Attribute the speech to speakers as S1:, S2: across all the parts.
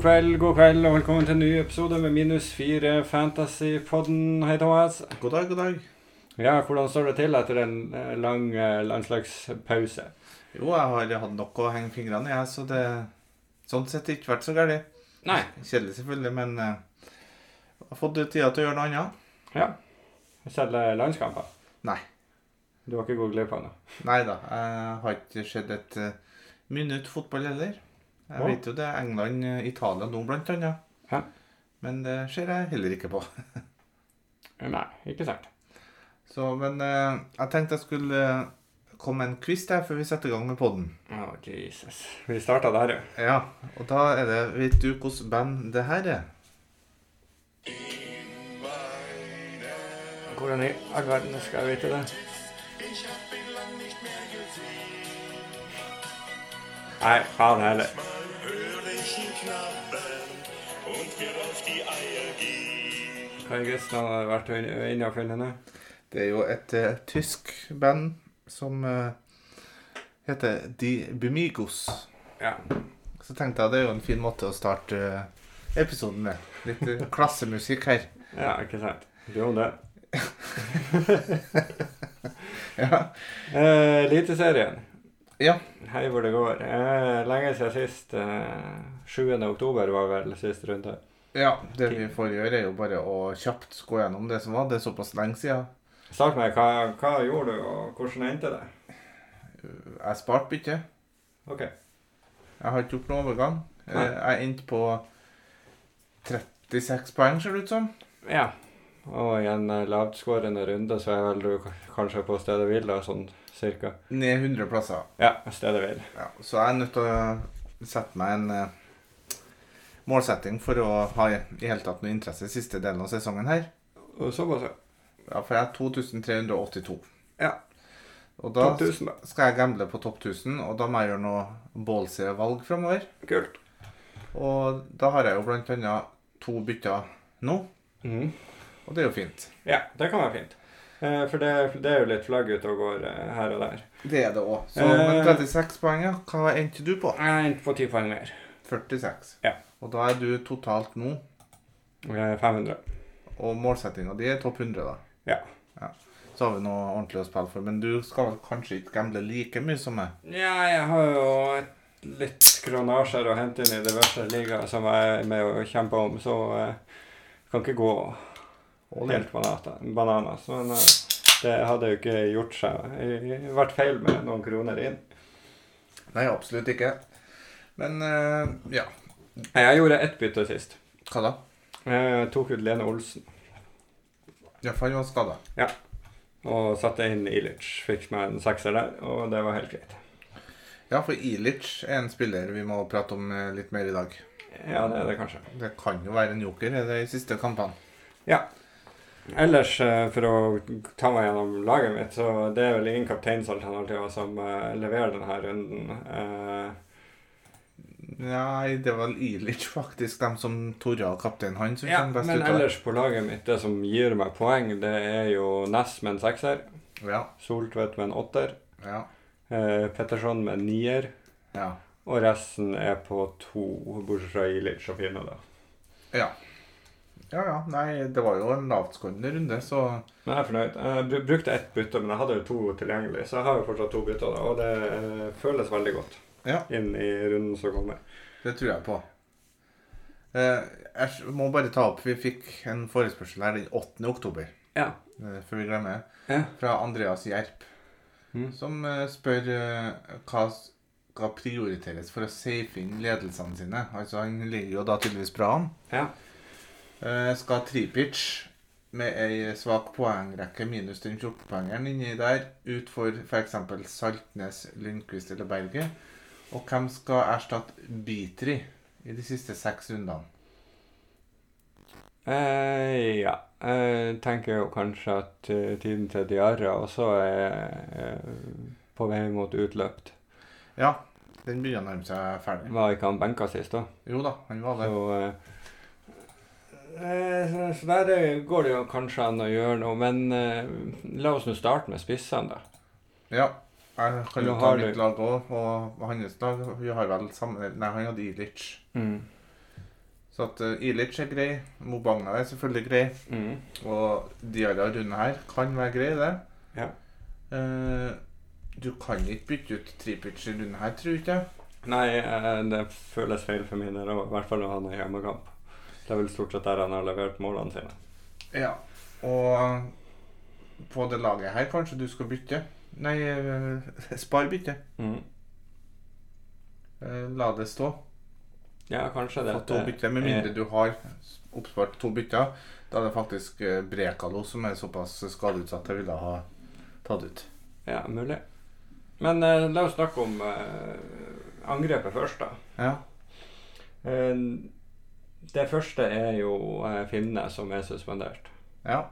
S1: kveld, god kveld, og velkommen til en ny episode med Minus 4 Fantasypodden. Hei, Thomas.
S2: God dag, god dag.
S1: Ja, hvordan står det til etter en eh, lang eh, landslagspause?
S2: Jo, jeg har hatt nok å henge fingrene i, jeg, så det Sånn sett ikke vært så galt.
S1: Nei.
S2: Kjedelig, selvfølgelig, men eh, jeg har fått tida til å gjøre noe annet.
S1: Ja. Selge eh, landskamper?
S2: Nei.
S1: Du har ikke gått glipp av noe?
S2: Nei da, jeg har ikke sett et eh, minutt fotball heller. Jeg
S1: Hva?
S2: vet jo det er England, eh, Italia nå, blant annet.
S1: Hæ?
S2: Men det ser jeg heller ikke på.
S1: Nei, ikke sant.
S2: Så, men eh, jeg tenkte jeg skulle eh, komme med en quiz der før vi setter i gang med poden.
S1: Å, Jesus. Vi starta der, jo.
S2: Ja, og da er det Vet du hvilket band det her er?
S1: Hvordan i all verden skal jeg vite det? Nei, faen heller. Hva i Gusten hadde vært inne og funnet nå?
S2: Det er jo et eh, tysk band som eh, heter De Bumigos.
S1: Ja.
S2: Så tenkte jeg det er jo en fin måte å starte eh, episoden med. Litt eh, klassemusikk her.
S1: ja, ikke sant. Jo, det.
S2: Ja.
S1: Eh, Eliteserien.
S2: Ja.
S1: Hei hvor det går. Eh, lenge siden sist. Eh, 7. oktober var vel sist runde.
S2: ja. Det vi får gjøre, er jo bare å kjapt gå gjennom det som var. Det er såpass lenge siden.
S1: Start med hva, hva gjorde du, og hvordan endte det?
S2: Jeg sparte bytte.
S1: OK.
S2: Jeg har ikke gjort noen overgang. Eh,
S1: Nei.
S2: Jeg endte på 36 poeng, ser det ut som.
S1: Ja. Og i en eh, lavtskårende runde så er vel du k- kanskje på stedet hvil, da, sånn cirka.
S2: Ned 100 plasser.
S1: Ja, stedet hvil.
S2: Ja, så jeg er nødt til å sette meg en eh, målsetting for å ha i i hele tatt noe interesse i siste delen av sesongen her.
S1: Og så bare så-
S2: Ja, for jeg er 2382.
S1: Ja.
S2: Og da
S1: 2000, da.
S2: skal jeg gamble på topp 1000, og da må jeg gjøre noe ballsy valg framover.
S1: Kult.
S2: Og da har jeg jo blant annet to bytter nå,
S1: Mhm.
S2: og det er jo fint.
S1: Ja, det kan være fint. Eh, for det, det er jo litt flagg ute og går eh, her og der.
S2: Det er det òg. Så
S1: Eh.
S2: men 36 poeng, ja. Hva endte du på?
S1: Jeg endte på ti poeng mer.
S2: 46.
S1: Ja.
S2: Og da er du totalt nå,
S1: Eh, 500.
S2: og målsettinga di er topp 100, da.
S1: Ja.
S2: så har vi noe ordentlig å spille for. Men du skal vel kanskje ikke gamble like mye som meg?
S1: Ja, jeg har jo et litt kronasjer å hente inn i diverse ligaer som jeg er med og kjemper om, så eh, kan ikke gå helt banata, bananas. Men eh, det hadde jo ikke gjort seg. eh, Vært feil med noen kroner inn.
S2: Nei, absolutt ikke. Men eh, ja.
S1: Jeg gjorde ett bytte sist.
S2: Hva da?
S1: Jeg tok ut Lene Olsen
S2: Ja, for han var skada.
S1: og satte inn Ilic. Fikk meg en sekser der, og det var helt greit.
S2: Ja, for Ilic er en spiller vi må prate om eh, litt mer i dag.
S1: Ja, det er det kanskje.
S2: Det kan jo være en joker i de siste kampene.
S1: Ellers, eh, for å ta meg gjennom laget mitt, så det er vel ingen kapteinsalternativer som eh, leverer denne runden. Eh,
S2: Nei, det var Ilic faktisk, dem som torde å kapteinen hans. som
S1: ja,
S2: kom best
S1: men
S2: ut av det.
S1: ellers på laget mitt, det som gir meg poeng, det er jo Ness med en sekser,
S2: Ja,
S1: Soltvedt med en åtter,
S2: ja,
S1: eh, Petterson med en nier,
S2: ja.
S1: og resten er på to, bortsett fra Ilic og Fine, da.
S2: Ja, ja. Nei, det var jo en lavtskårende runde, så
S1: Men jeg er fornøyd. Jeg bru- brukte ett bytte, men jeg hadde jo to tilgjengelig, så jeg har jo fortsatt to bytter, da, og det eh, føles veldig godt
S2: Ja.
S1: inn i runden som kommer.
S2: Det tror jeg på. Eh, jeg s- må bare ta opp Vi fikk en forespørsel her den 8. oktober.
S1: Ja.
S2: eh, før vi glemmer det.
S1: Ja.
S2: Fra Andreas Gjerp.
S1: Mm.
S2: Som eh, spør eh, hva skal prioriteres for å safe inn ledelsene sine. Altså Han ligger jo da tydeligvis bra an.
S1: Ja.
S2: Eh, skal Tripic med ei svak poengrekke minus den 14-poengeren inni der ut for f.eks. Saltnes, Lundqvist eller Berget? Og hvem skal erstatte Bitri i de siste seks rundene?
S1: Eh, ja. Jeg tenker jo kanskje at eh, tiden til Diarra også er eh, på vei mot utløpt.
S2: Ja, den begynner å nærme seg ferdig.
S1: Var ikke han benka sist, da?
S2: Jo da, han var
S1: Så,
S2: der.
S1: eh, eh, så så der eh, går det jo kanskje an å gjøre noe, men eh, la oss nå starte med spissene, da.
S2: Ja. Jeg kan jo
S1: Nå
S2: ta
S1: har
S2: mitt
S1: du-
S2: Mm. lag òg, og hans lag. Vi har vel samme Nei, han hadde Ilic. Så at eh, Ilic er grei. Mobanga er selvfølgelig grei.
S1: Mm.
S2: Og Diarra og Rune her kan være grei, det.
S1: Ja.
S2: Eh, du kan ikke bytte ut Tripic i Rune her, tror ikke jeg.
S1: Nei, eh, det føles feil for min del, og i hvert fall når han er hjemmekamp. Det er vel stort sett der han har levert målene sine.
S2: Ja. Og på det laget her kanskje du skal bytte. Nei, eh, spar bytte.
S1: Mm.
S2: Eh, La det stå.
S1: Ja, kanskje det.
S2: Få to bytter, med mindre du har oppspart to bytter. Da er det faktisk eh, Brekalo som er såpass skadeutsatt jeg ville ha tatt ut.
S1: Ja, mulig. Men eh, la oss snakke om eh, angrepet først, da.
S2: Ja.
S1: Eh, det første er jo eh, Finne, som er suspendert.
S2: ja.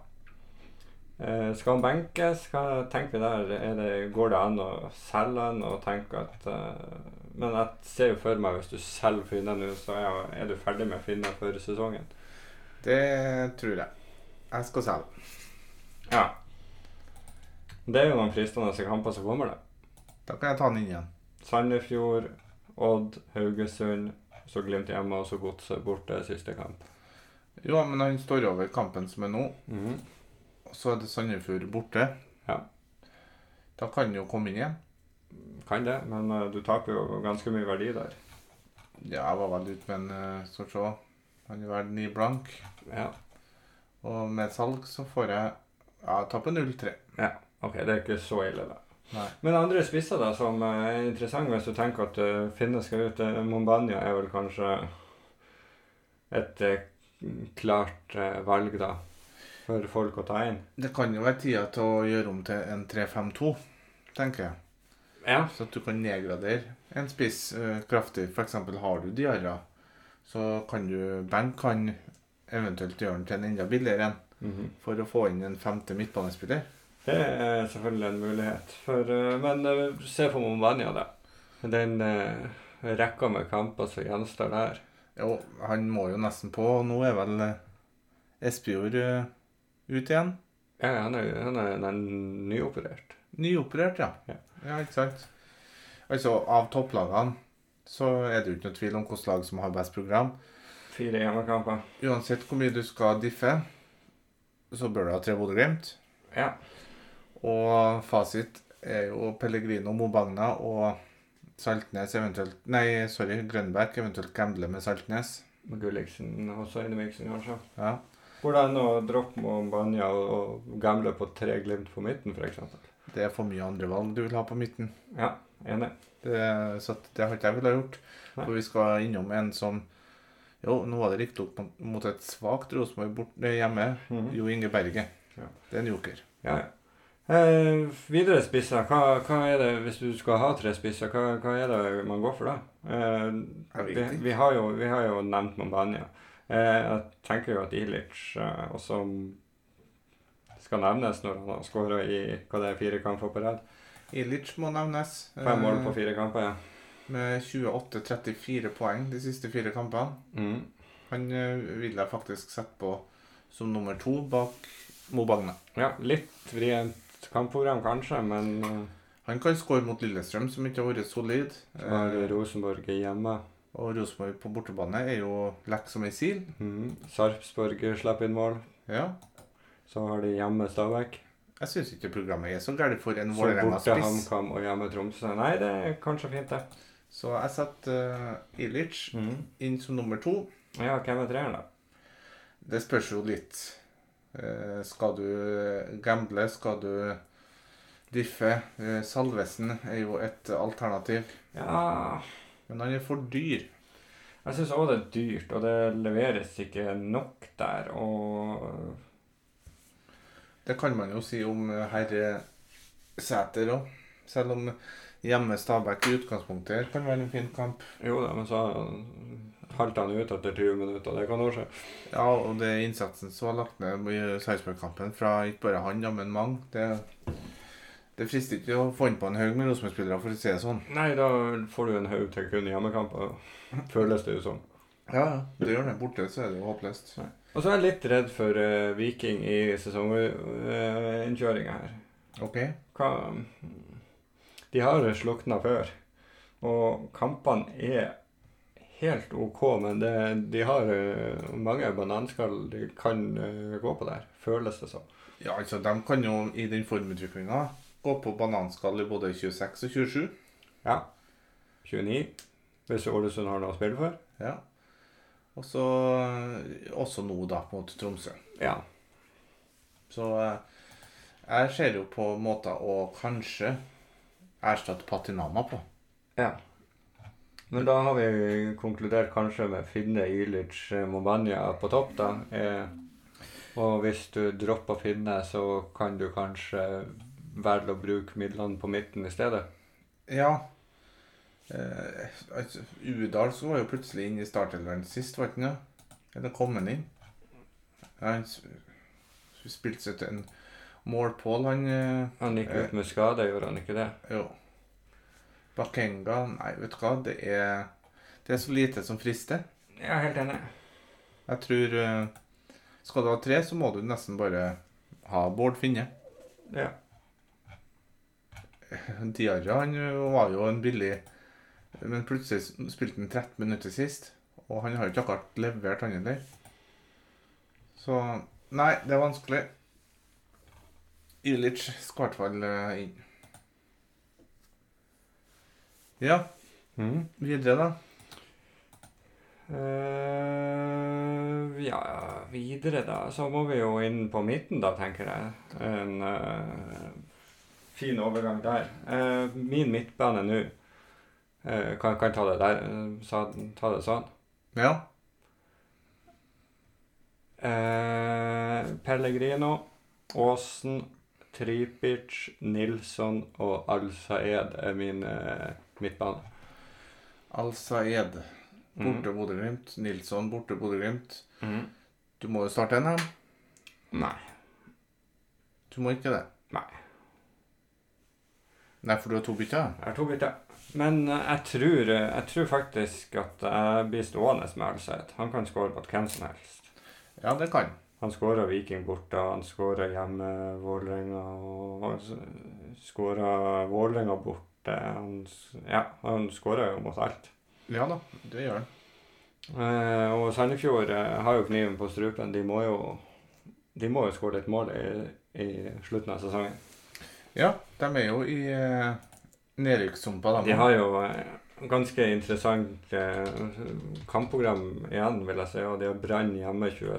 S1: Eh, skal han benkes? Hva tenker vi der? Er det, går det an å selge han og tenke at eh, Men jeg ser jo for meg hvis du selger Finne nå, så er, er du ferdig med Finne før sesongen.
S2: Det tror jeg. Jeg skal selge.
S1: Ja. Det er jo noen fristende kamper som kommer, det.
S2: Da kan jeg ta den inn igjen.
S1: Sandefjord, Odd, Haugesund, så Glimt hjemme og så Godset borte siste kamp.
S2: Jo, men han står over kampen som er nå.
S1: Mhm.
S2: Og så er det Sandefjord borte.
S1: Ja.
S2: Da kan han jo komme inn igjen.
S1: Kan det, men eh, du taper jo ganske mye verdi der.
S2: Ja, jeg var vel ute med en eh, Skal vi se. Han er vel ni blank.
S1: Ja,
S2: Og med salg så får jeg Ja, jeg taper 0-3.
S1: ok, det er ikke så ille, da.
S2: Nei.
S1: Men andre spisser da, som eh, er interessante hvis du tenker at eh, Finne skal ut eh, Mombania er vel kanskje et eh, klart eh, valg, da, for folk å ta inn.
S2: Det kan jo være tida til å gjøre om til en 3-5-2, tenker jeg.
S1: Ja.
S2: Så at du kan nedgradere en spiss eh, kraftig. For eksempel har du Diarra, så kan du Benk kan eventuelt gjøre den til en enda billigere en
S1: Mhm.
S2: for å få inn en femte midtbanespiller.
S1: Det er selvfølgelig en mulighet. For, eh, men eh, se på Mombania, da. Den eh, rekka med kamper som gjenstår der.
S2: Jo, han må jo nesten på. og Nå er vel eh, Espejord eh, ut igjen.
S1: Ja, han er, han er, han er nyoperert.
S2: Nyoperert, ja.
S1: Ja.
S2: Ja, ikke sant. Altså, av topplagene så er det jo ikke noe tvil om hvilket lag som har best program.
S1: Fire hjemmekamper.
S2: Uansett hvor mye du skal diffe, så bør du ha tre Bodø-Glimt.
S1: Ja.
S2: Og fasit er jo Pellegrino, Mobagna og Saltnes eventuelt Nei, sorry, Grønberg eventuelt gamble med Saltnes.
S1: Med Gulliksen også inni miksen, kanskje.
S2: Ja.
S1: Hvordan å droppe Mombania og, og gamble på tre Glimt på midten, f.eks.?
S2: Det er for mye andre valg du vil ha på midten.
S1: Ja, enig.
S2: Det, så at det har ikke jeg villet ha gjort.
S1: Nei.
S2: For vi skal innom en som Jo, nå var det riktignok mot- mot et svakt Rosenborg bort- eh, hjemme.
S1: Mhm.
S2: Jo Inge Berge.
S1: Ja.
S2: Det er en joker.
S1: Ja, ja. Eh, videre spisser. Hva, hva er det, hvis du skal ha tre spisser, hva, hva er det man går for da? Eh,
S2: Jeg vet
S1: vi,
S2: ikke.
S1: vi, har jo, vi har jo nevnt Mombania. Eh, jeg tenker jo at Ilic eh, også skal nevnes når han har skåra i hva det er, fire kamper på rad.
S2: Ilic må nevnes.
S1: Fem mål
S2: eh,
S1: på fire kamper, ja.
S2: Med 28-34 poeng de siste fire kampene.
S1: Mm.
S2: Han eh, vil jeg faktisk sette på som nummer to bak Mo Bagna.
S1: Ja, litt vrient kampprogram kanskje, men eh,
S2: Han kan skåre mot Lillestrøm, som ikke har vært solid.
S1: så har
S2: Eh,
S1: Rosenborg hjemme.
S2: Og Rosenborg på bortebane er jo lekk som ei sil.
S1: Mm. Sarpsborg slapp inn mål.
S2: Ja.
S1: Så har de hjemme Stabæk.
S2: Jeg syns ikke programmet er så gærent for en
S1: Så borte
S2: Vålerenga-spiss.
S1: HamKam og hjemme Tromsø. Nei, det er kanskje fint, det.
S2: Så jeg setter eh, Ilic inn som nummer to.
S1: Ja, hvem er treeren, da?
S2: Det spørs jo litt. Eh, Skal du eh, gamble? Skal du diffe? Eh, Salvesen er jo et alternativ.
S1: Ja
S2: Men han er for dyr.
S1: Jeg syns òg det er dyrt, og det leveres ikke nok der. Og
S2: Det kan man jo si om eh, herre Sæter òg. Selv om hjemme Stabæk i utgangspunktet her kan være en fin kamp.
S1: jo da, men så falt han ut etter 20 minutter. Det kan òg skje.
S2: Ja, og det er innsatsen som var lagt ned i Sarpsborg-kampen fra ikke bare han, ja, men mange, det, det frister ikke å få inn på en haug med Rosenborg-spillere, for å si det sånn.
S1: Nei, da får du en haug til kun hjemmekamper, føles det jo som.
S2: Ja, ja. Det gjør det. Borte så er det jo håpløst.
S1: Og så er jeg litt redd for eh, Viking i sesonginnkjøringa her.
S2: OK.
S1: hva De har slukna før. Og kampene er helt OK, men det, de har eh, mange bananskall de kan eh, gå på der, føles det som.
S2: Ja, altså, de kan jo i den formutviklinga gå på bananskall i både 26 og 27.
S1: Ja. 29, hvis Ålesund har noe å spille for.
S2: Ja. Og så eh, også nå, da, mot Tromsø.
S1: Ja.
S2: Så eh, jeg ser jo på måter å kanskje erstatte Patinama på.
S1: Ja. Men da har vi konkludert kanskje med Finne, Ilic, Mobania på topp, da. Eh, og hvis du dropper Finne, så kan du kanskje velge å bruke midlene på midten i stedet.
S2: Ja. Eh, altså, Udal så var jo plutselig inne i startelveren sist, var ikke han det? Eller kom han inn? Ja, han s- spilte seg til en mål Pål, han eh,
S1: Han gikk ut med skade, gjorde han ikke det?
S2: Jo. Bakenga Nei, vet du hva, det er Det er så lite som frister.
S1: Ja, helt enig.
S2: Jeg tror eh, Skal du ha tre, så må du nesten bare ha Bård Finne.
S1: Ja.
S2: Diarra han eh, var jo en billig Men plutselig spilte han 13 minutter sist, og han har jo ikke akkurat levert, han heller. Så Nei, det er vanskelig. Ilic skal i hvert fall eh, inn. Ja,
S1: Mm.
S2: videre, da.
S1: Eh, ja, videre da, så må vi jo inn på midten da, tenker jeg. En eh, fin overgang der. Eh, min midtbane nå, eh, kan, kan ta det der, eh, sa, ta det sånn.
S2: Ja.
S1: Eh, Pellegrino, Åsen, Tripic, Nilsson og Al-Saed er min eh, midtbane.
S2: Al-Saed
S1: Mhm.
S2: borte Bodø-Glimt. Nilsson borte Bodø-Glimt.
S1: Mhm.
S2: Du må jo starte en, da.
S1: Nei.
S2: Du må ikke det.
S1: Nei.
S2: Nei, for du har to bytter?
S1: Jeg har to bytter. Men eh, jeg tror, eh, jeg tror faktisk at jeg blir stående med Elseth. Han kan skåre mot hvem som helst.
S2: Ja, det kan.
S1: Han skåra Viking borte, han skåra hjemme Vålerenga og han skåra Vålerenga borte. Han, s- ja, han skåra jo mot alt.
S2: Ja da, det gjør han.
S1: Eh, og Sandefjord eh, har jo kniven på strupen. De må jo, de må jo skåre et mål i, i slutten av sesongen.
S2: Ja, de er jo i eh, nedrykkssumpa, de.
S1: De har jo eh, ganske interessant eh, kampprogram igjen, vil jeg si. Og de har Brann hjemme 26.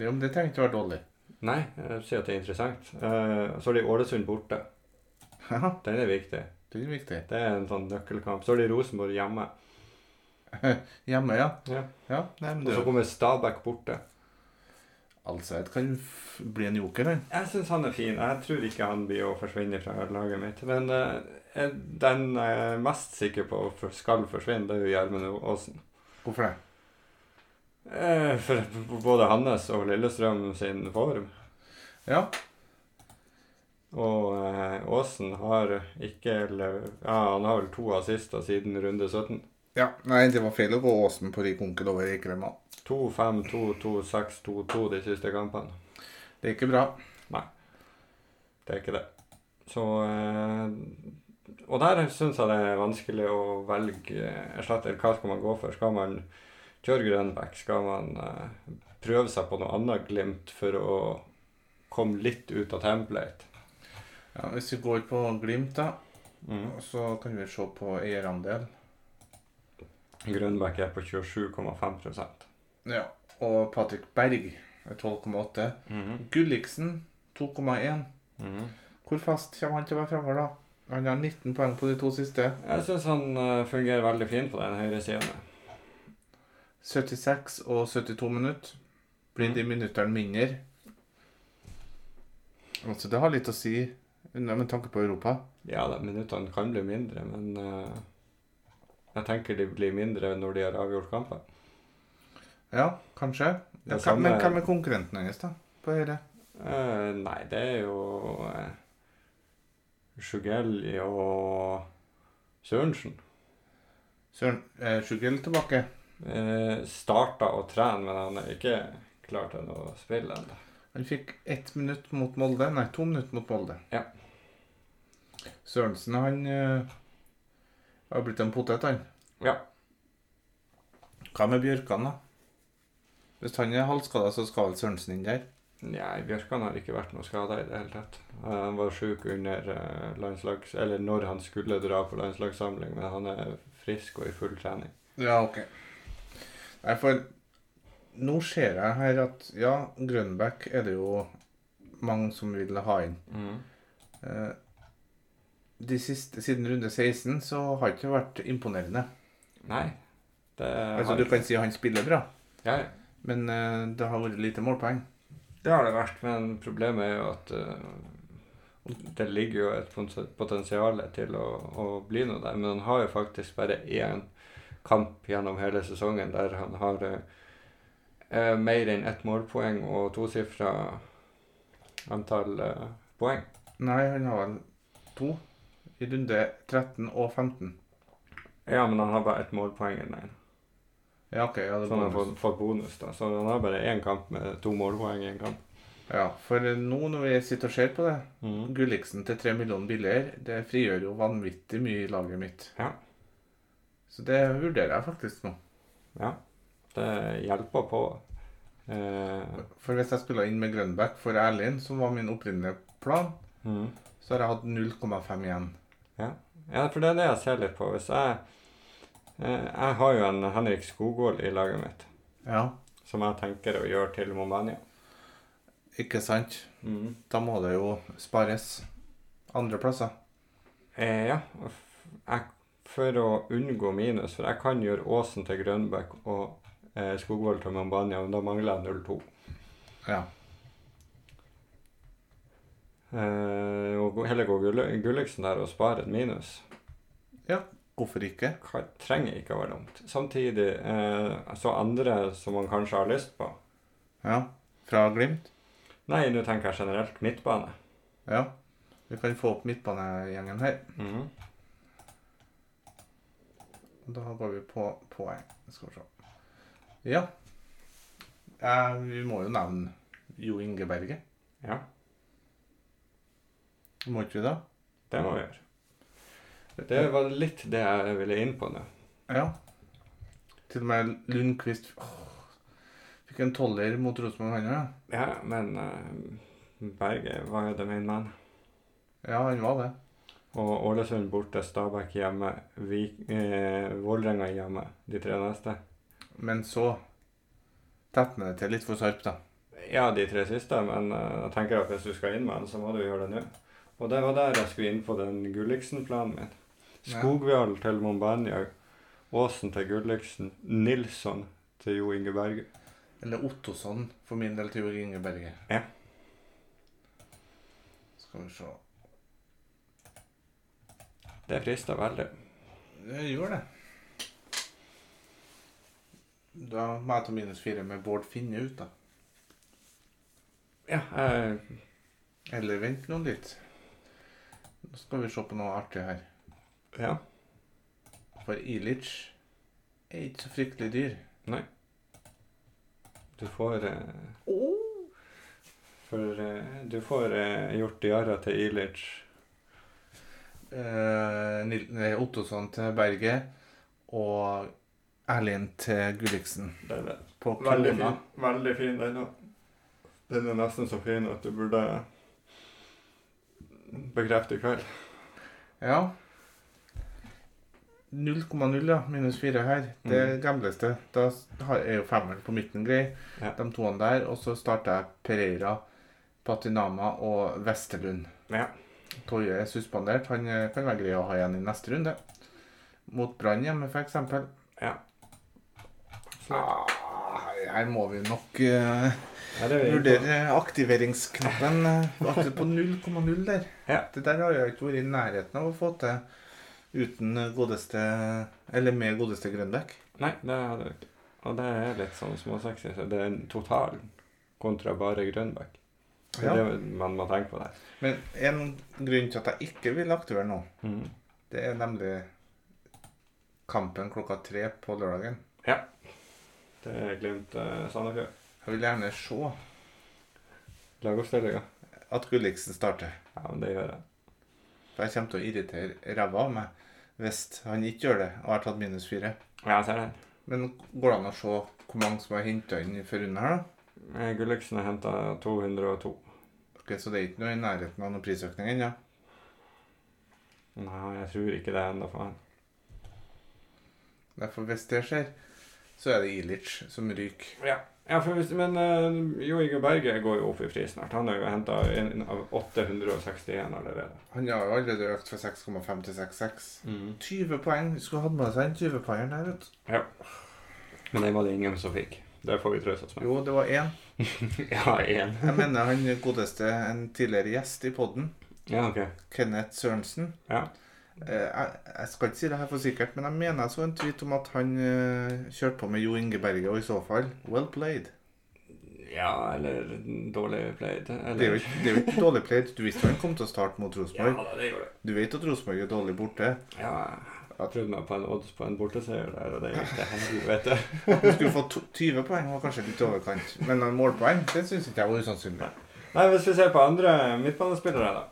S2: Det, om det trenger ikke være dårlig.
S1: Nei, jeg sier at det er interessant. Eh, så har de Ålesund borte.
S2: Ja,
S1: Den er viktig.
S2: det er viktig.
S1: Det er en sånn nøkkelkamp. Så har de Rosenborg hjemme.
S2: Hjemme, ja.
S1: Ja.
S2: Ja, nei, men
S1: Og så
S2: du
S1: kommer Stabæk borte.
S2: Altså, det kan f bli en joker, han.
S1: Jeg syns han er fin. Jeg tror ikke han blir å forsvinne fra laget mitt. Men eh, eh, den jeg er mest sikker på for- skal forsvinne, det er jo Gjermund Aasen.
S2: Hvorfor det?
S1: Eh, for både hans og Lillestrøm sin form.
S2: Ja.
S1: Og eh, Aasen har ikke eller, Ja, han har vel to assister siden runde 17.
S2: ja. Nei, det var feil å gå Åsen på rik onkel over Eikrema.
S1: 2-5, 2-2, 6-2-2 de siste kampene.
S2: Det er ikke bra.
S1: Det er ikke det. Så eh, Og der syns jeg det er vanskelig å velge eh, erstatter. Hva skal man gå for? Skal man kjøre Grønbæk? Skal man eh, prøve seg på noe annet Glimt for å komme litt ut av template?
S2: Ja, hvis vi går på Glimt, da,
S1: Mm.
S2: så kan vi se på eierandel.
S1: Grønbæk er på 27,5
S2: Ja. Og Patrick Berg er 12,8.
S1: mm.
S2: Gulliksen 2,1.
S1: Mm.
S2: Hvor fast kommer han til å være framover, da? Han har 19 poeng på de to siste.
S1: Jeg syns han eh, fungerer veldig fint på den høyre sida.
S2: 76 og 72 minutter. Blir
S1: Mm.
S2: de minuttene mindre? Altså, det har litt å si under- med tanke på Europa.
S1: Ja da, minuttene kan bli mindre, men eh, jeg tenker de blir mindre når de har avgjort kampen.
S2: Ja, kanskje. Ja,
S1: Det
S2: hva,
S1: samme
S2: men
S1: er-
S2: hvem er konkurrenten hennes, da? På dette?
S1: Eh, nei, det er jo uh, Sjugelj og Sørensen.
S2: Søren eh, Sjugel tilbake.
S1: Uh, starta å trene, men han er ikke klar til å spille ennå.
S2: Han fikk ett minutt mot Molde. Nei, to minutter mot Molde.
S1: Ja.
S2: Sørensen, han eh, har blitt en potet, han.
S1: Ja.
S2: Hva med Bjørkan, da? Hvis han er halvskada, så skal vel Sørensen inn der?
S1: Nei, Bjørkan har ikke vært noe skada i det hele tatt. Eh, Han var sjuk under eh, landslags... Eller når han skulle dra på landslagssamling, men han er frisk og i full trening.
S2: Ja, ok. Nei, for nå ser jeg her at ja, Grønbæk er det jo mange som vil ha inn. Eh, De siste, siden runde 16 så har det ikke vært imponerende.
S1: Nei. Det
S2: Altså, Du kan si han spiller bra,
S1: ja,
S2: men eh, det har vært lite målpoeng.
S1: det har det vært, men problemet er jo at eh, det ligger jo et pons- potensial til å, å bli noe der. Men han har jo faktisk bare én kamp gjennom hele sesongen der han har eh, eh, mer enn ett målpoeng og tosifra antall eh, poeng.
S2: Nei, han har vel to i runde 13 og 15.
S1: Ja, men han har bare ett målpoeng i den ene.
S2: Ja, ok. Ja, det
S1: Så han har
S2: er bonus.
S1: fått, fått bonus, da. Så han har bare én kamp med to målpoeng i en kamp.
S2: Ja, for nå når vi sitter og ser på det, Mm. Gulliksen til 3 millioner billigere, det frigjør jo vanvittig mye i laget mitt.
S1: Ja.
S2: Så det vurderer jeg faktisk nå.
S1: Ja. Det hjelper på. Eh,
S2: For hvis jeg spiller inn med Grønbæk for Erlind, som var min opprinnelige plan,
S1: mhm.
S2: så har jeg hatt 0,5 igjen.
S1: Ja, for det er det jeg ser litt på. Hvis jeg eh, Jeg har jo en Henrik Skogvold i laget mitt
S2: Ja,
S1: som jeg tenker å gjøre til Mombania.
S2: ikke sant?
S1: Mhm.
S2: Da må det jo spares andre plasser.
S1: Eh, ja. og f- Jeg, for å unngå minus, for jeg kan gjøre Åsen til Grønbæk og eh, Skogvold til Mombania, men da mangler jeg 0-2.
S2: Ja.
S1: Eh, og gå- heller gå Gull- Gulliksen der og spare et minus.
S2: Hvorfor ikke?
S1: Hva, trenger ikke å være dumt. Samtidig eh, så andre som man kanskje har lyst på.
S2: Ja. Fra Glimt?
S1: Nei, nå tenker jeg generelt midtbane.
S2: Ja. Vi kan få opp midtbanegjengen her. Og Da går vi på poeng. Skal vi se. Ja. Eh, vi må jo nevne Jo Ingeberget.
S1: Ja,
S2: Må ikke vi da?
S1: det må vi gjøre. Det var litt det jeg ville inn på nå.
S2: Ja. Til og med Lundqvist Åh. Fikk en toller mot Rosenborg han òg.
S1: Ja, men eh, Berge var jo the main man.
S2: Ja, han var det.
S1: Og Ålesund borte, Stabæk hjemme, Vik, eh, Vålerenga hjemme, de tre neste.
S2: Men så tetter han det til litt for skarpt, da.
S1: Ja, de tre siste, men eh, jeg tenker at hvis du skal inn med den, så må du gjøre det nå. Og det var der jeg skulle inn på den Gulliksen-planen min.
S2: Ja.
S1: Skogvial til Mombania, Åsen til Gulliksen, Nilsson til Jo Inge Berge.
S2: Eller Ottosson, for min del, til Jo Ingeberget.
S1: Ja.
S2: Skal vi se
S1: Det frister veldig.
S2: Jeg gjør det. Da må jeg ta minus fire med Bård Finne ut, da.
S1: Ja, eh,
S2: Eller vent nå litt. Nå skal vi se på noe artig her.
S1: ja.
S2: For Ilic er ikke så fryktelig dyr.
S1: Du får eh, For eh, du får eh, gjort Diarra til Ilic.
S2: Eh, Nil- nei, Ottosson til Berget og Erlind til Gulliksen
S1: Det er det.
S2: på
S1: Veldig
S2: krona.
S1: fin. Veldig fin den òg. Den er nesten så fin at du burde bekrefte i kveld.
S2: Ja. 0,0 ja, minus 4 her. Det
S1: Mm.
S2: gamles det. Da s- har- er jo femmeren på midten grei.
S1: Ja.
S2: De toene der. Og så starter jeg Pereira, Patinama og Vesterlund.
S1: Ja.
S2: Toje er suspendert. Han eh, kan være grei å ha igjen i neste runde. Mot Brann hjemme, f.eks. Ah, her må vi nok eh,
S1: Ja, det er vi inne på.
S2: vurdere aktiveringsknappen. eh, Akkurat på 0,0 der.
S1: Ja.
S2: Det der har jeg ikke vært i nærheten av å få til uten godeste Eller med godeste Grønbæk.
S1: Nei, det hadde vi ikke. Og det er litt sånn småsexy. så Det er en total kontra bare Grønbæk. Det
S2: Ja.
S1: er det man må tenke på der.
S2: Men en grunn til at jeg ikke vil aktivere nå,
S1: Mhm.
S2: det er nemlig kampen klokka tre på lørdagen.
S1: Det er Glimt eh, Sandefjord.
S2: Jeg vil gjerne se
S1: Lagoppstillinga.
S2: at Gulliksen starter.
S1: Ja, men det gjør jeg.
S2: For jeg kommer til å irritere ræva av meg hvis han ikke gjør det og har tatt minus fire.
S1: Ja, jeg ser den.
S2: Men går det an å se hvor mange som er henta inn før under her, da?
S1: Eh, Gulliksen har henta 202.
S2: Ok, Så det er ikke noe i nærheten av noen prisøkning ennå?
S1: Nei, jeg tror ikke det ennå, faen.
S2: Derfor, hvis det skjer, så er det Ilic som ryker.
S1: Ja. Ja, for hvis, men uh, Jo Inge Berge går jo opp i pris snart. Han har jo henta 861 allerede.
S2: Han har jo allerede økt fra 6,5 til 6,6. 20 poeng. Skulle hatt med seg en 20-poengeren her, vet du.
S1: Men det var det ingen som fikk. Det får vi trøste oss med.
S2: Jo, det var én.
S1: Ja, én.
S2: Jeg mener han godeste, en tidligere gjest i podden,
S1: Ja, ok.
S2: Kenneth Sørensen.
S1: Ja.
S2: Eh, Jeg, jeg skal ikke si det her for sikkert, men jeg mener jeg så en tweet om at han eh, kjørte på med Jo Inge Berge, og i så fall well played.
S1: Ja, eller dårlig played. Eller...
S2: Det er jo ikke, det er jo ikke dårlig played. Du visste jo han kom til å starte mot
S1: Ja,
S2: Rosenborg.
S1: da, det gjorde det.
S2: Du vet at Rosenborg er dårlig borte.
S1: Ja, jeg prøvde meg på en odds på en borteseier der, og det gikk til helvete.
S2: At du skulle få to- 20 poeng var kanskje litt i overkant, men noen målpoeng det syns ikke jeg var usannsynlig.
S1: Nei, hvis vi ser på andre midtbanespillere, da.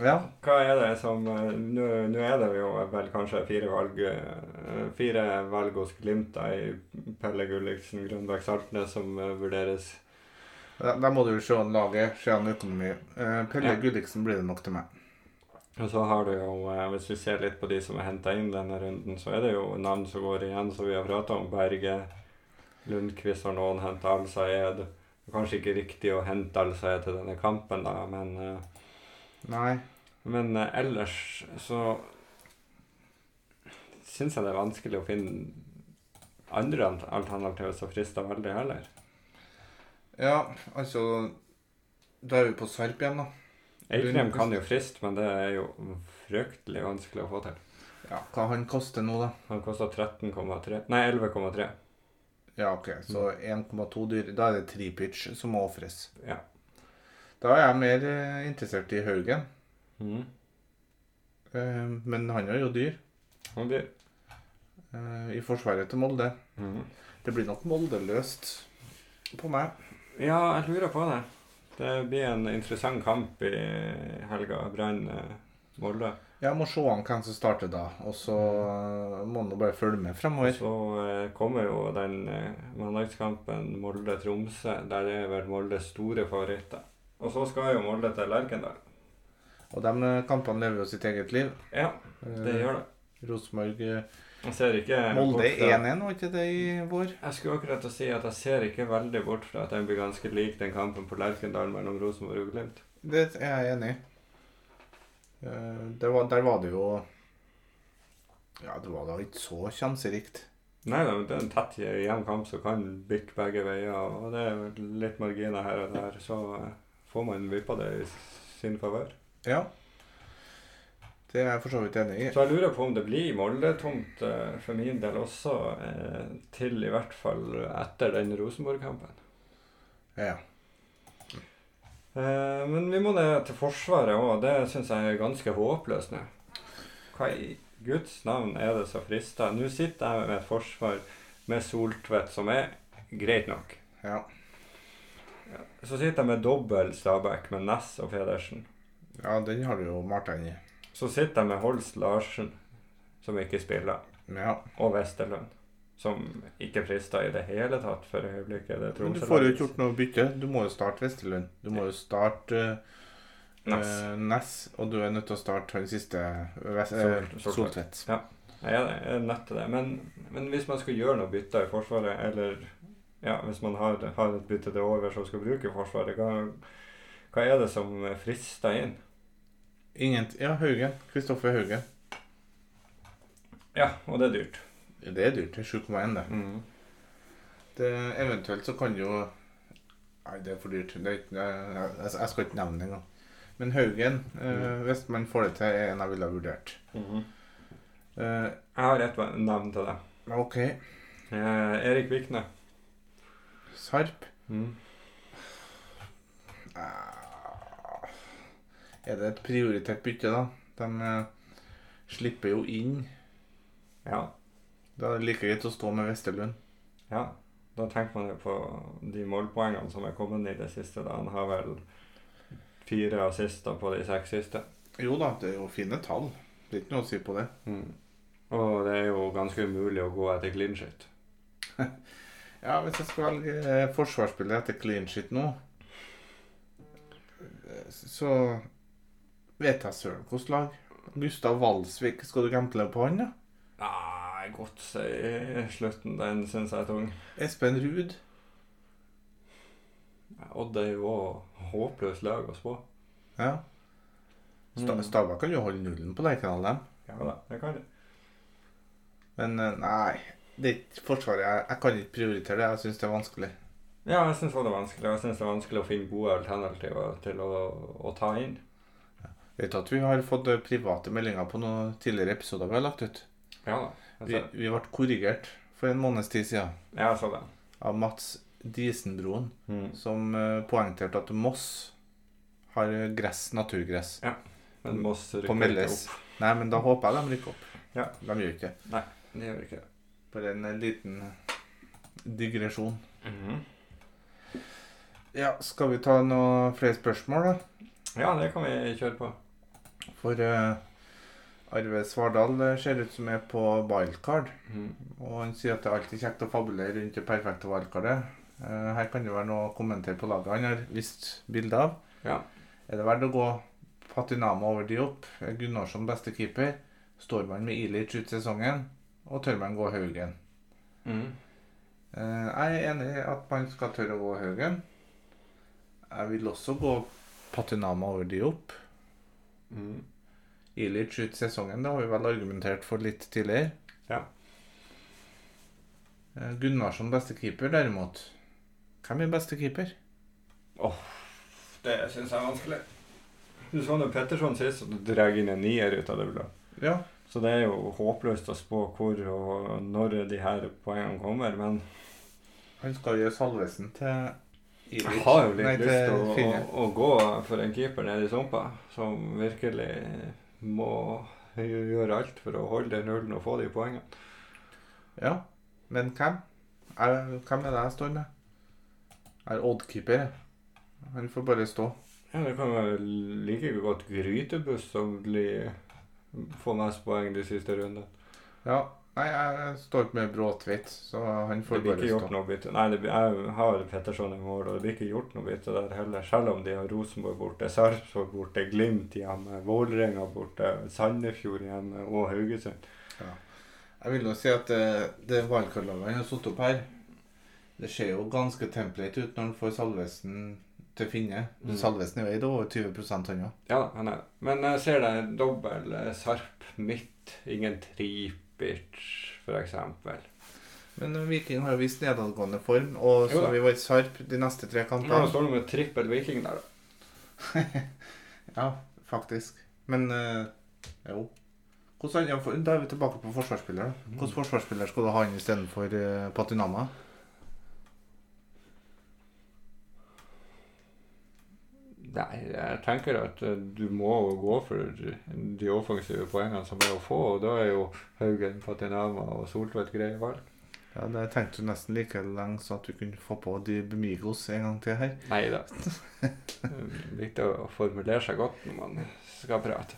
S2: Ja,
S1: Hva er det som eh, Nå nå er det jo vel kanskje fire valg eh, Fire valg hos Glimt da, i Pelle Gulliksen, Grønbæk Saltnes som eh, vurderes.
S2: da, da må du jo se an laget, se an økonomi. Eh, Pelle
S1: Ja.
S2: Gulliksen blir det nok til meg.
S1: Og så har du jo, eh, hvis vi ser litt på de som er henta inn denne runden, så er det jo navn som går igjen, som vi har prata om. Berge, Lundqvist har noen henta Al-Sayed. Kanskje ikke riktig å hente Al-Sayed til denne kampen, da, men eh,
S2: Nei.
S1: Men eh, ellers så syns jeg det er vanskelig å finne andre alt- alternativer som frister veldig heller.
S2: Ja, altså Da er vi på Sarp igjen, da.
S1: Eikrem kan jo friste, men det er jo fryktelig vanskelig å få til.
S2: Ja, Hva han koster nå, da?
S1: Han kosta 13,3 Nei, 11,3.
S2: Ja, OK, så 1,2 dyr. Da er det tripitch som må ofres.
S1: Ja.
S2: Da er jeg mer eh, interessert i Haugen.
S1: Mm.
S2: Eh, men han er jo dyr.
S1: Han blir
S2: Eh, I forsvaret til Molde.
S1: Mhm.
S2: Det blir nok Molde-løst på meg.
S1: Ja, jeg lurer på det. Det blir en interessant kamp i helga. Brann eh, Molde.
S2: Jeg må se an hvem som starter da, og så eh, må han nå bare følge med fremover.
S1: Så eh, kommer jo den eh, mandagskampen Molde-Tromsø, der det er vel Moldes store favoritter. Og så skal jo Molde til Lerkendal.
S2: Og de eh, kampene lever jo sitt eget liv.
S1: Ja, det gjør det.
S2: Rosenborg eh,
S1: Jeg ser ikke
S2: Molde
S1: bort fra-
S2: 1-1, var ikke det i vår?
S1: Jeg skulle akkurat til å si at jeg ser ikke veldig bort fra at den blir ganske lik den kampen på Lerkendal mellom Rosenborg og Glimt.
S2: Det er jeg enig i. Eh, Det var, der var det jo Ja, det var da ikke så sjanserikt.
S1: Nei da, men det er en tett, jevn kamp som kan bikke begge veier, og det er vel litt marginer her og der, så eh, får man vippa det i sin favør.
S2: Ja. Det er jeg for så vidt enig i.
S1: Så jeg lurer på om det blir Molde-tomt eh, for min del også, eh, til i hvert fall etter den Rosenborg-kampen.
S2: Ja.
S1: Eh, Men vi må ned til Forsvaret òg. Det syns jeg er ganske håpløst nå. Hva i Guds navn er det som frister? Nå sitter jeg med et forsvar med Soltvedt, som er greit nok.
S2: ja.
S1: Så sitter jeg med dobbel Stabæk, med Næss og Pedersen.
S2: Ja, den har du jo malt deg inn i.
S1: Så sitter jeg med Holst Larsen, som ikke spiller.
S2: Ja.
S1: og Westerlund. Som ikke frister i det hele tatt for øyeblikket. Det
S2: Men du
S1: Tromsø
S2: får jo
S1: laget.
S2: ikke gjort noe bytte. Du må jo starte Vesterlund. Du må jo starte eh,
S1: Næss.
S2: eh, Næss, og du er nødt til å starte han siste Ves-
S1: Sol-
S2: eh,
S1: Soltvedt.
S2: Soltvedt.
S1: Nei, Jeg jeg er nødt til det. Men, men hvis man skal gjøre noe bytte i Forsvaret, eller ja, hvis man har, har et bytte til over som skal bruke Forsvaret, hva, hva er det som frister inn?
S2: Ingen Ja, Haugen. Kristoffer Haugen.
S1: Ja, og det er dyrt.
S2: Det er dyrt. Det er 7,1, det.
S1: Mm.
S2: Det, eventuelt så kan jo Nei, det er for dyrt. Det er ikke, jeg, jeg- jeg skal ikke nevne det engang. Men Haugen, eh,
S1: Mm.
S2: hvis man får det til, er en jeg ville ha vurdert.
S1: Mhm.
S2: Eh,
S1: Jeg har et navn til det.
S2: OK.
S1: Eh, Erik Vikne.
S2: Sarp eh, Er det et prioritert bytte, da? De eh, slipper jo inn.
S1: Ja,
S2: Da er det like greit å stå med Vesterlund.
S1: ja. Da tenker man jo på de målpoengene som er kommet i det siste. da. Han har vel fire assister på de seks siste.
S2: Jo da, det er jo fine tall.
S1: Mm.
S2: Det er ikke noe å si på det.
S1: Og det er jo ganske umulig å gå etter clean shit.
S2: Ja, hvis jeg skal velge eh, forsvarsspiller etter clean shit nå, eh, så vet jeg søren hvilket lag. Gustav Valsvik, skal du gamble på han, da?
S1: Nei, godt si slutten. Den syns jeg er tung.
S2: Espen Ruud.
S1: Odd er jo òg håpløst lag å spå.
S2: Ja. Sta
S1: Mm.
S2: Stabæk kan jo holde nullen på Lerkendal, dem.
S1: Ja da, det kan det.
S2: Men eh, nei, det er ikke Forsvaret. Jeg, jeg kan ikke prioritere det. Jeg syns det er vanskelig.
S1: Ja, jeg syns det er vanskelig. Jeg synes det er vanskelig å finne gode alternativer til å, å ta inn.
S2: Vet du at vi har fått eh, private meldinger på noen tidligere episoder vi har lagt ut?
S1: Ja da. Jeg
S2: Vi,
S1: ser det.
S2: vi ble korrigert for en måneds tid siden
S1: Ja, jeg så det.
S2: av Mats Disenbroen,
S1: Mm.
S2: som eh, poengterte at Moss har eh, gress, naturgress.
S1: Men Moss
S2: På
S1: rykker ikke
S2: Melles.
S1: opp.
S2: Nei, men da håper jeg de rykker opp.
S1: Ja.
S2: De gjør ikke det.
S1: Det gjør ikke det.
S2: Bare en eh, liten digresjon.
S1: Mm-hmm.
S2: Ja, skal vi ta noen flere spørsmål, da?
S1: Ja, det kan vi kjøre på.
S2: For eh, Arve Svardal eh, ser ut som er på wildcard.
S1: Mm-hmm.
S2: Og han sier at det er alltid kjekt å fabulere rundt det perfekte wildcardet. Eh, her kan det være noe å kommentere på laget han har vist bilde av.
S1: Ja.
S2: Er det verdt å gå Patinama over Diop? Er Gunnarsson beste keeper? Står man med Ilic ut sesongen? Og tør man gå Haugen? Eh, jeg er enig i at man skal tørre å gå Haugen. Jeg vil også gå Patinama over Diop.
S1: Mm-hmm.
S2: Ilic ut sesongen, det har vi vel argumentert for litt tidligere.
S1: Ja.
S2: Eh, Gunnarsson beste keeper, derimot. Hvem er beste keeper?
S1: Det syns jeg er vanskelig. Du så nå Petterson sist, og du drar inn en nier ut av det blå.
S2: Ja,
S1: Så det er jo håpløst å spå hvor og når de her poengene kommer, men
S2: han skal gjøre Salvesen til Ilic.
S1: jeg har jo litt
S2: Nei,
S1: lyst til å, å,
S2: Finne.
S1: å gå for en keeper nede i sumpa, som virkelig må gjøre alt for å holde den nullen og få de poengene.
S2: Ja, men hvem? Er, hvem er det jeg står med? Jeg er Odd-keeper. jeg. Han får bare stå.
S1: Ja, det kan være like godt grytebuss som blir får mest poeng de siste rundene.
S2: Ja, nei, jeg står ikke med Bråtveit, så han
S1: Det
S2: får
S1: blir
S2: bare
S1: ikke gjort
S2: stå.
S1: noe bytte. Nei, det blir, jeg har Petterson i mål, og det blir ikke gjort noe bytte der heller. Selv om de har Rosenborg borte, Sarpsborg borte, Glimt hjemme, Vålerenga borte, Sandefjord hjemme og Haugesund.
S2: Jeg vil jo si at eh, det wildcard-laget han har satt opp her, det ser jo ganske template ut når han får Salvesen til Finne.
S1: Mm.
S2: Salvesen er jo veid over 20 han òg.
S1: Ja, han er Men jeg ser det er dobbel eh, Sarp midt, ingen Tripic, for eksempel.
S2: Men eh, Viking har jo vist nedadgående form, og
S1: Jo
S2: så
S1: da.
S2: har vi vært sarp de neste tre
S1: Nå
S2: kampene.
S1: står det med trippel Viking der, da.
S2: Ja, faktisk. Men eh, jo. Hvordan, ja, for- da er vi tilbake på forsvarsspiller. da. Hvilken forsvarsspiller skal du ha inn istedenfor uh, Patinama?
S1: Nei, jeg tenker at eh, du må jo gå for de offensive poengene som er å få, og da er jo Haugen, Patinama og Soltvedt greie valg.
S2: Ja, Det tenkte du nesten like lenge så at du kunne få på de Bemigos en gang til her.
S1: Nei da. Viktig å formulere seg godt når man skal prate.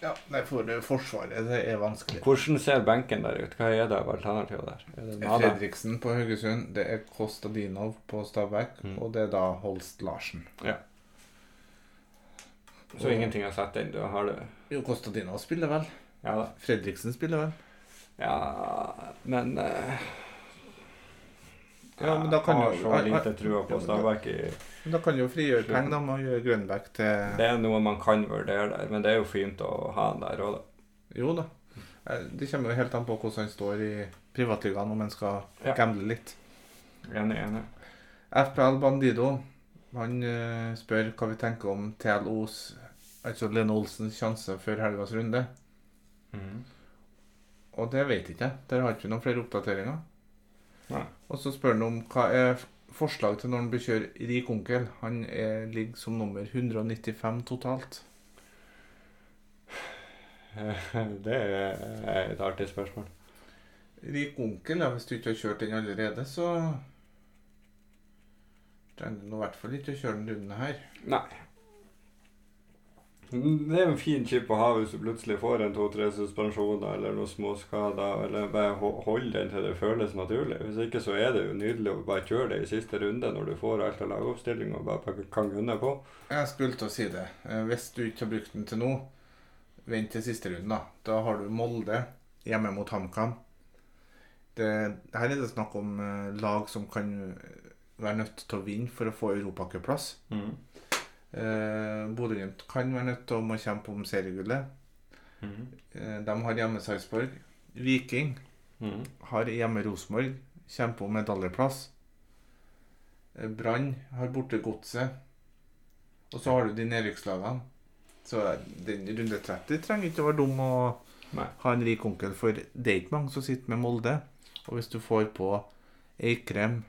S2: Ja, nei, for eh, Forsvaret det er vanskelig.
S1: Hvordan ser benken der ut? Hva er det av alternativ der? Er det Nada?
S2: Fredriksen på Haugesund, det er Kostadinov på Stabæk,
S1: Mm.
S2: og det er da Holst Larsen.
S1: Så ingenting å sette inn? Du har det
S2: Jo, Kostadinov spiller vel.
S1: Ja da.
S2: Fredriksen spiller vel.
S1: Ja, men eh,
S2: Ja, men da kan
S1: Jeg har
S2: jo-
S1: så lite trua
S2: Ja,
S1: på
S2: men da-
S1: Stabæk. i-
S2: Men da kan jo frigjøre penger da med å gjøre Grønbæk til
S1: Det er noe man kan vurdere der, men det er jo fint å ha den der òg, da.
S2: Jo da. Eh, Det kommer jo helt an på hvordan han står i privatligaen, om han skal
S1: Ja.
S2: gamble litt.
S1: Enig, enig.
S2: FPL Bandido han eh, spør hva vi tenker om TLOs, altså Lene Olsens, sjanse før helgas runde. Mm. Og det vet ikke jeg. Der har ikke vi noen flere oppdateringer.
S1: Nei.
S2: Og så spør han om hva er f- forslag til når han bør kjøre rik onkel. Han er, ligger som nummer 195 totalt.
S1: Det er et artig spørsmål.
S2: Rik onkel, ja, hvis du ikke har kjørt den allerede, så trenger du nå i hvert fall ikke å kjøre den runden her.
S1: Nei. Det er jo en fin chip å ha hvis du plutselig får en to-tre suspensjoner eller noen småskader, eller bare ho- hold den til det føles naturlig. Hvis ikke så er det jo nydelig å bare kjøre det i siste runde når du får alt av lagoppstilling og bare pak- kan gunne på.
S2: Jeg skulle til å si det. Eh, Hvis du ikke har brukt den til nå, vent til siste runden, da. Da har du Molde hjemme mot HamKam. Det, her er det snakk om eh, lag som kan eh, være nødt til å vinne for å få europacupplass.
S1: Mm.
S2: Eh, Bodø-Glimt kan være nødt til å kjempe om seriegullet. Eh, de har hjemme Sarpsborg. Viking har hjemme Rosenborg. Kjemper om medaljeplass. Eh, Brann har borte Godset. Og så har du de nedrykkslagene. Så eh, den runde 30 trenger ikke å være dum å
S1: Nei.
S2: ha en rik onkel, for det er ikke mange som sitter med Molde. Og hvis du får på Eikrem,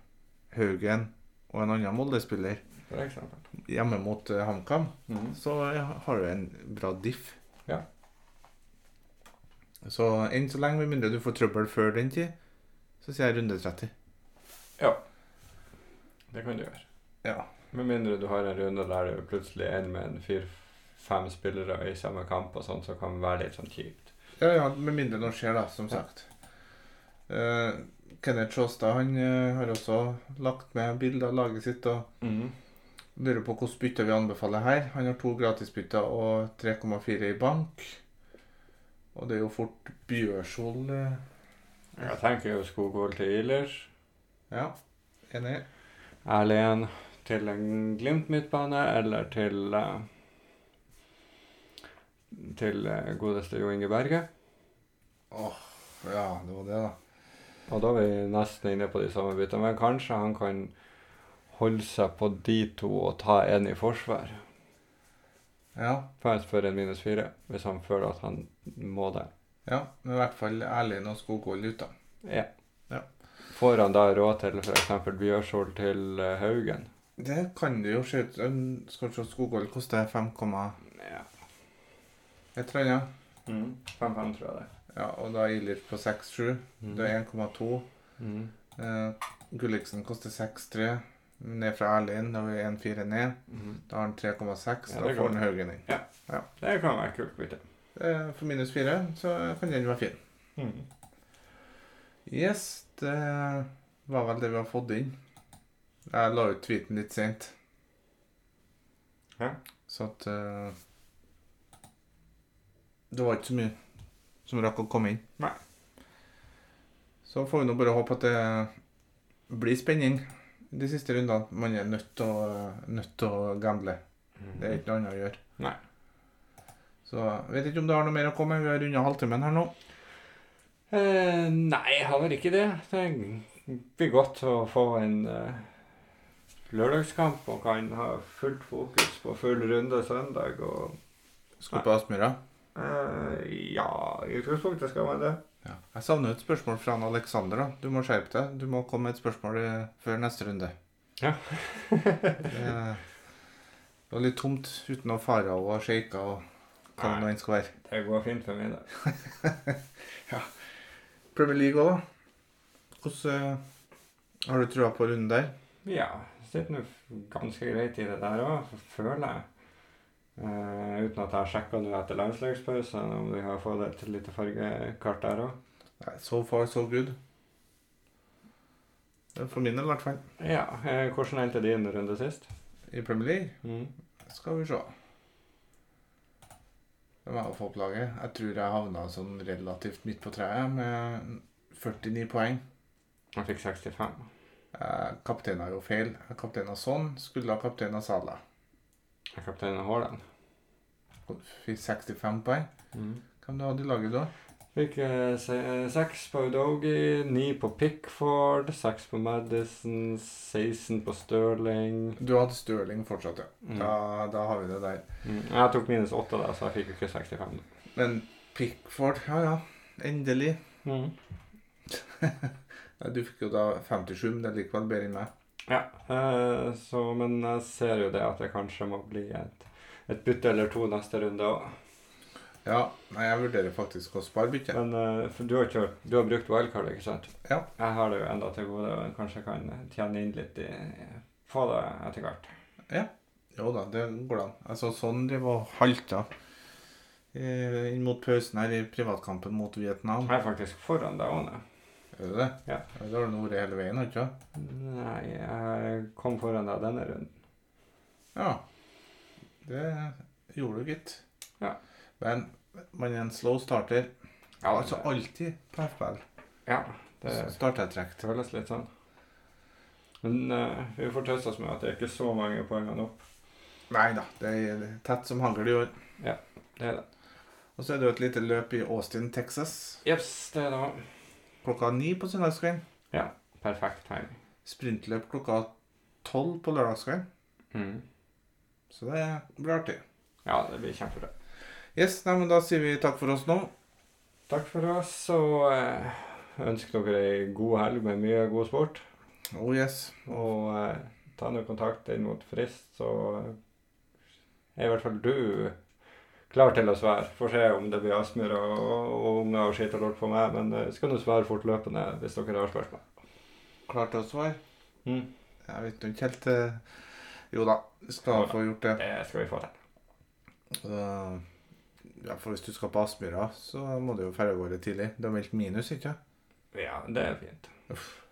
S2: Haugen og en annen Molde-spiller
S1: For eksempel.
S2: hjemme mot eh, HamKam,
S1: Mm.
S2: så har du en bra diff.
S1: Ja.
S2: Så enn så lenge, med mindre du får trøbbel før den tid, så sier jeg runde 30.
S1: Det kan du gjøre.
S2: Ja.
S1: Med mindre du har en runde der du plutselig er med en fire-fem spillere i samme kamp og sånn, så kan det være litt sånn kjipt.
S2: Ja, ja, med mindre noe skjer, da, som sagt. Eh, Kenneth Sjåstad han eh, har også lagt med bilder av laget sitt og
S1: Mm.
S2: lurer på hvilket bytte vi anbefaler her. Han har to gratisbytter og 3,4 i bank. Og det er jo fort Bjørsol eh,
S1: Jeg tenker jo Skogvold til Ilers.
S2: Ja, enig.
S1: Erlend til en Glimt midtbane, eller til eh, til eh, godeste Jo Inge Berge.
S2: Ja, det var det, da.
S1: Og da er vi nesten inne på de samme byttene, men kanskje han kan holde seg på de to og ta en i forsvar.
S2: Ja,
S1: Faktisk for en minus fire, hvis han føler at han må det.
S2: ja. Men i hvert fall Erlend og Skogvold ut, da.
S1: Ja.
S2: Ja.
S1: Får han da råd til f.eks. Bjørsol til eh, Haugen?
S2: Det kan det jo se ut som. Skal vi se, Skogvold koster 5, et
S1: Ja.
S2: eller annet. Mm.
S1: 5-5, tror jeg det.
S2: Ja, og da Ilert på 6-7. Det er 1,2.
S1: Mm.
S2: Eh, Gulliksen koster 6-3. Ned fra Erlend, da er 1-4 ned.
S1: Mhm.
S2: Da har han 3,6.
S1: Ja,
S2: da
S1: det er
S2: får
S1: godt.
S2: han Haugen inn.
S1: Det kan være kult bytte.
S2: Eh, for minus 4 så kan den være fin. Mm. Yes, det var vel det vi har fått inn. Jeg la ut tweeten litt sent.
S1: Ja.
S2: Så at eh, Det var ikke så mye som rakk å komme inn.
S1: Nei.
S2: Så får vi nå bare håpe at det blir spenning de siste rundene. Man er nødt til å, nødt til å gamble. Det er ikke noe annet å gjøre.
S1: Nei.
S2: Så vet ikke om det har noe mer å komme. Vi har runda halvtimen her nå.
S1: Eh, nei, jeg har vel ikke det. Det blir godt å få en eh, lørdagskamp og kan ha fullt fokus på full runde søndag. Og
S2: Skal på Aspmyra.
S1: eh, ja, i utgangspunktet skal man det.
S2: Ja. Jeg savner et spørsmål fra han Aleksander. da. Du må skjerpe deg. Du må komme med et spørsmål eh, før neste runde.
S1: Ja.
S2: det, det var litt tomt uten å fare og shake og hva det nå enn skal være.
S1: Det går fint for meg, det.
S2: Premier League òg, da. Hvordan eh, har du trua på runden der?
S1: Ja, sitter nå f- ganske greit i det der òg, føler jeg. Eh, uten at jeg har sjekka nå etter landslagspausen om vi har fått et lite fargekart der òg.
S2: Nei, so far, so good. Det er For min del, i hvert fall.
S1: Ja, eh, hvordan endte din runde sist?
S2: I Premier League
S1: Mm.
S2: skal vi se. Det var å få opp laget. Jeg tror jeg havna sånn relativt midt på treet med 49 poeng.
S1: Jeg fikk 65.
S2: Eh, Kapteinen jo feil. Kapteinen sånn skulle ha kapteinen Salah.
S1: Jeg er kaptein Haaland.
S2: Fikk 65 poeng. Hvem du hadde i laget da?
S1: Mm. Fikk eh, se- seks på Udogi, ni på Pickford, seks på Madison, 16 på Stirling.
S2: Du hadde Stirling fortsatt, ja.
S1: Mm.
S2: Da, da har vi det der.
S1: Mm. Jeg tok minus åtte der, så jeg fikk jo ikke 65.
S2: Men Pickford, ja ja. Endelig.
S1: Mm.
S2: Nei, Du fikk jo da 57, men det er likevel bedre enn meg.
S1: Ja, eh, så, men jeg ser jo det at det kanskje må bli et, et bytte eller to neste runde òg.
S2: Ja, nei, jeg vurderer faktisk å spare byttet.
S1: Men eh, for du har, ikke, du har brukt wildcard, ikke sant?
S2: Ja.
S1: Jeg har det jo enda til gode, og kanskje kan tjene inn litt i Få det etter hvert.
S2: Jo da, det går an. Altså, sånn driver og halta eh, inn mot pausen her i privatkampen mot Vietnam.
S1: Jeg er faktisk foran deg òg nå.
S2: Er det det?
S1: Ja.
S2: Det har du vært hele veien, har du ikke det?
S1: Nei, jeg kom foran deg denne runden.
S2: Ja. Det gjorde du, gitt.
S1: Ja.
S2: Men man er en slow starter.
S1: Ja,
S2: altså
S1: det,
S2: alltid på FBL.
S1: ja, det
S2: Starter jeg trekt.
S1: føles litt sånn. Men eh, vi får trøste oss med at det er ikke så mange poengene opp.
S2: Nei da, det er tett som hagl i år.
S1: Det er det.
S2: Og så er det jo et lite løp i Austin, Texas.
S1: Jeps, det er det.
S2: Klokka ni på søndagskvelden.
S1: Perfekt timing.
S2: Sprintløp klokka tolv på lørdagskvelden.
S1: Mm.
S2: Så det blir artig.
S1: Ja, det blir kjempebra.
S2: Yes, nei, men Da sier vi takk for oss nå.
S1: Takk for oss, og eh, ønsker dere ei god helg med mye god sport.
S2: Oh yes.
S1: Og eh, ta nå kontakt inn mot frist, så eh, er i hvert fall du klar til å svare. Får se om det blir astmer og, og unger og skitt og lort på meg, men eh, skal du svare fortløpende hvis dere har spørsmål.
S2: Klar til å svare?
S1: Mm.
S2: Jeg vet nå ikke helt eh, Jo da, skal
S1: Jo da.
S2: få gjort det.
S1: Det skal vi få til.
S2: Eh, ja, For hvis du skal på Aspmyra, så må du jo dra av gårde tidlig. Det er meldt minus, ikke
S1: Ja, det er fint.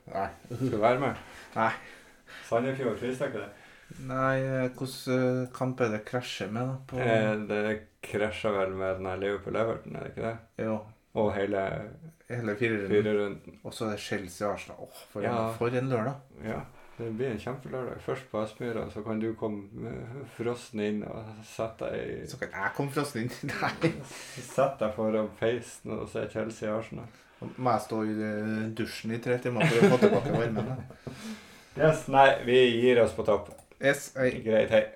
S2: Nei.
S1: Skal du være med?
S2: Nei.
S1: Sandefjord frister ikke det.
S2: Nei, eh, Hvordan eh, kamp er det krasjer med, da? På,
S1: Eh, det krasja vel med den her Liverpool-Everton, er det ikke det?
S2: Jo,
S1: Og hele
S2: hele firerunden.
S1: firerunden.
S2: Og så er det Chelsea-Arsenal. Åh, for, en-
S1: Ja.
S2: for en lørdag.
S1: Ja. Det blir en kjempelørdag. Først på Aspmyra, så kan du komme eh, frossen inn og sette deg i
S2: Så kan jeg komme frossen inn. Nei.
S1: Sett deg foran peisen og se Chelsea Arsenal.
S2: Må jeg stå i eh, dusjen i tre timer for å få tilbake varmen? da?
S1: Yes, nei, vi gir oss på topp.
S2: Yes, hei.
S1: Greit, hei.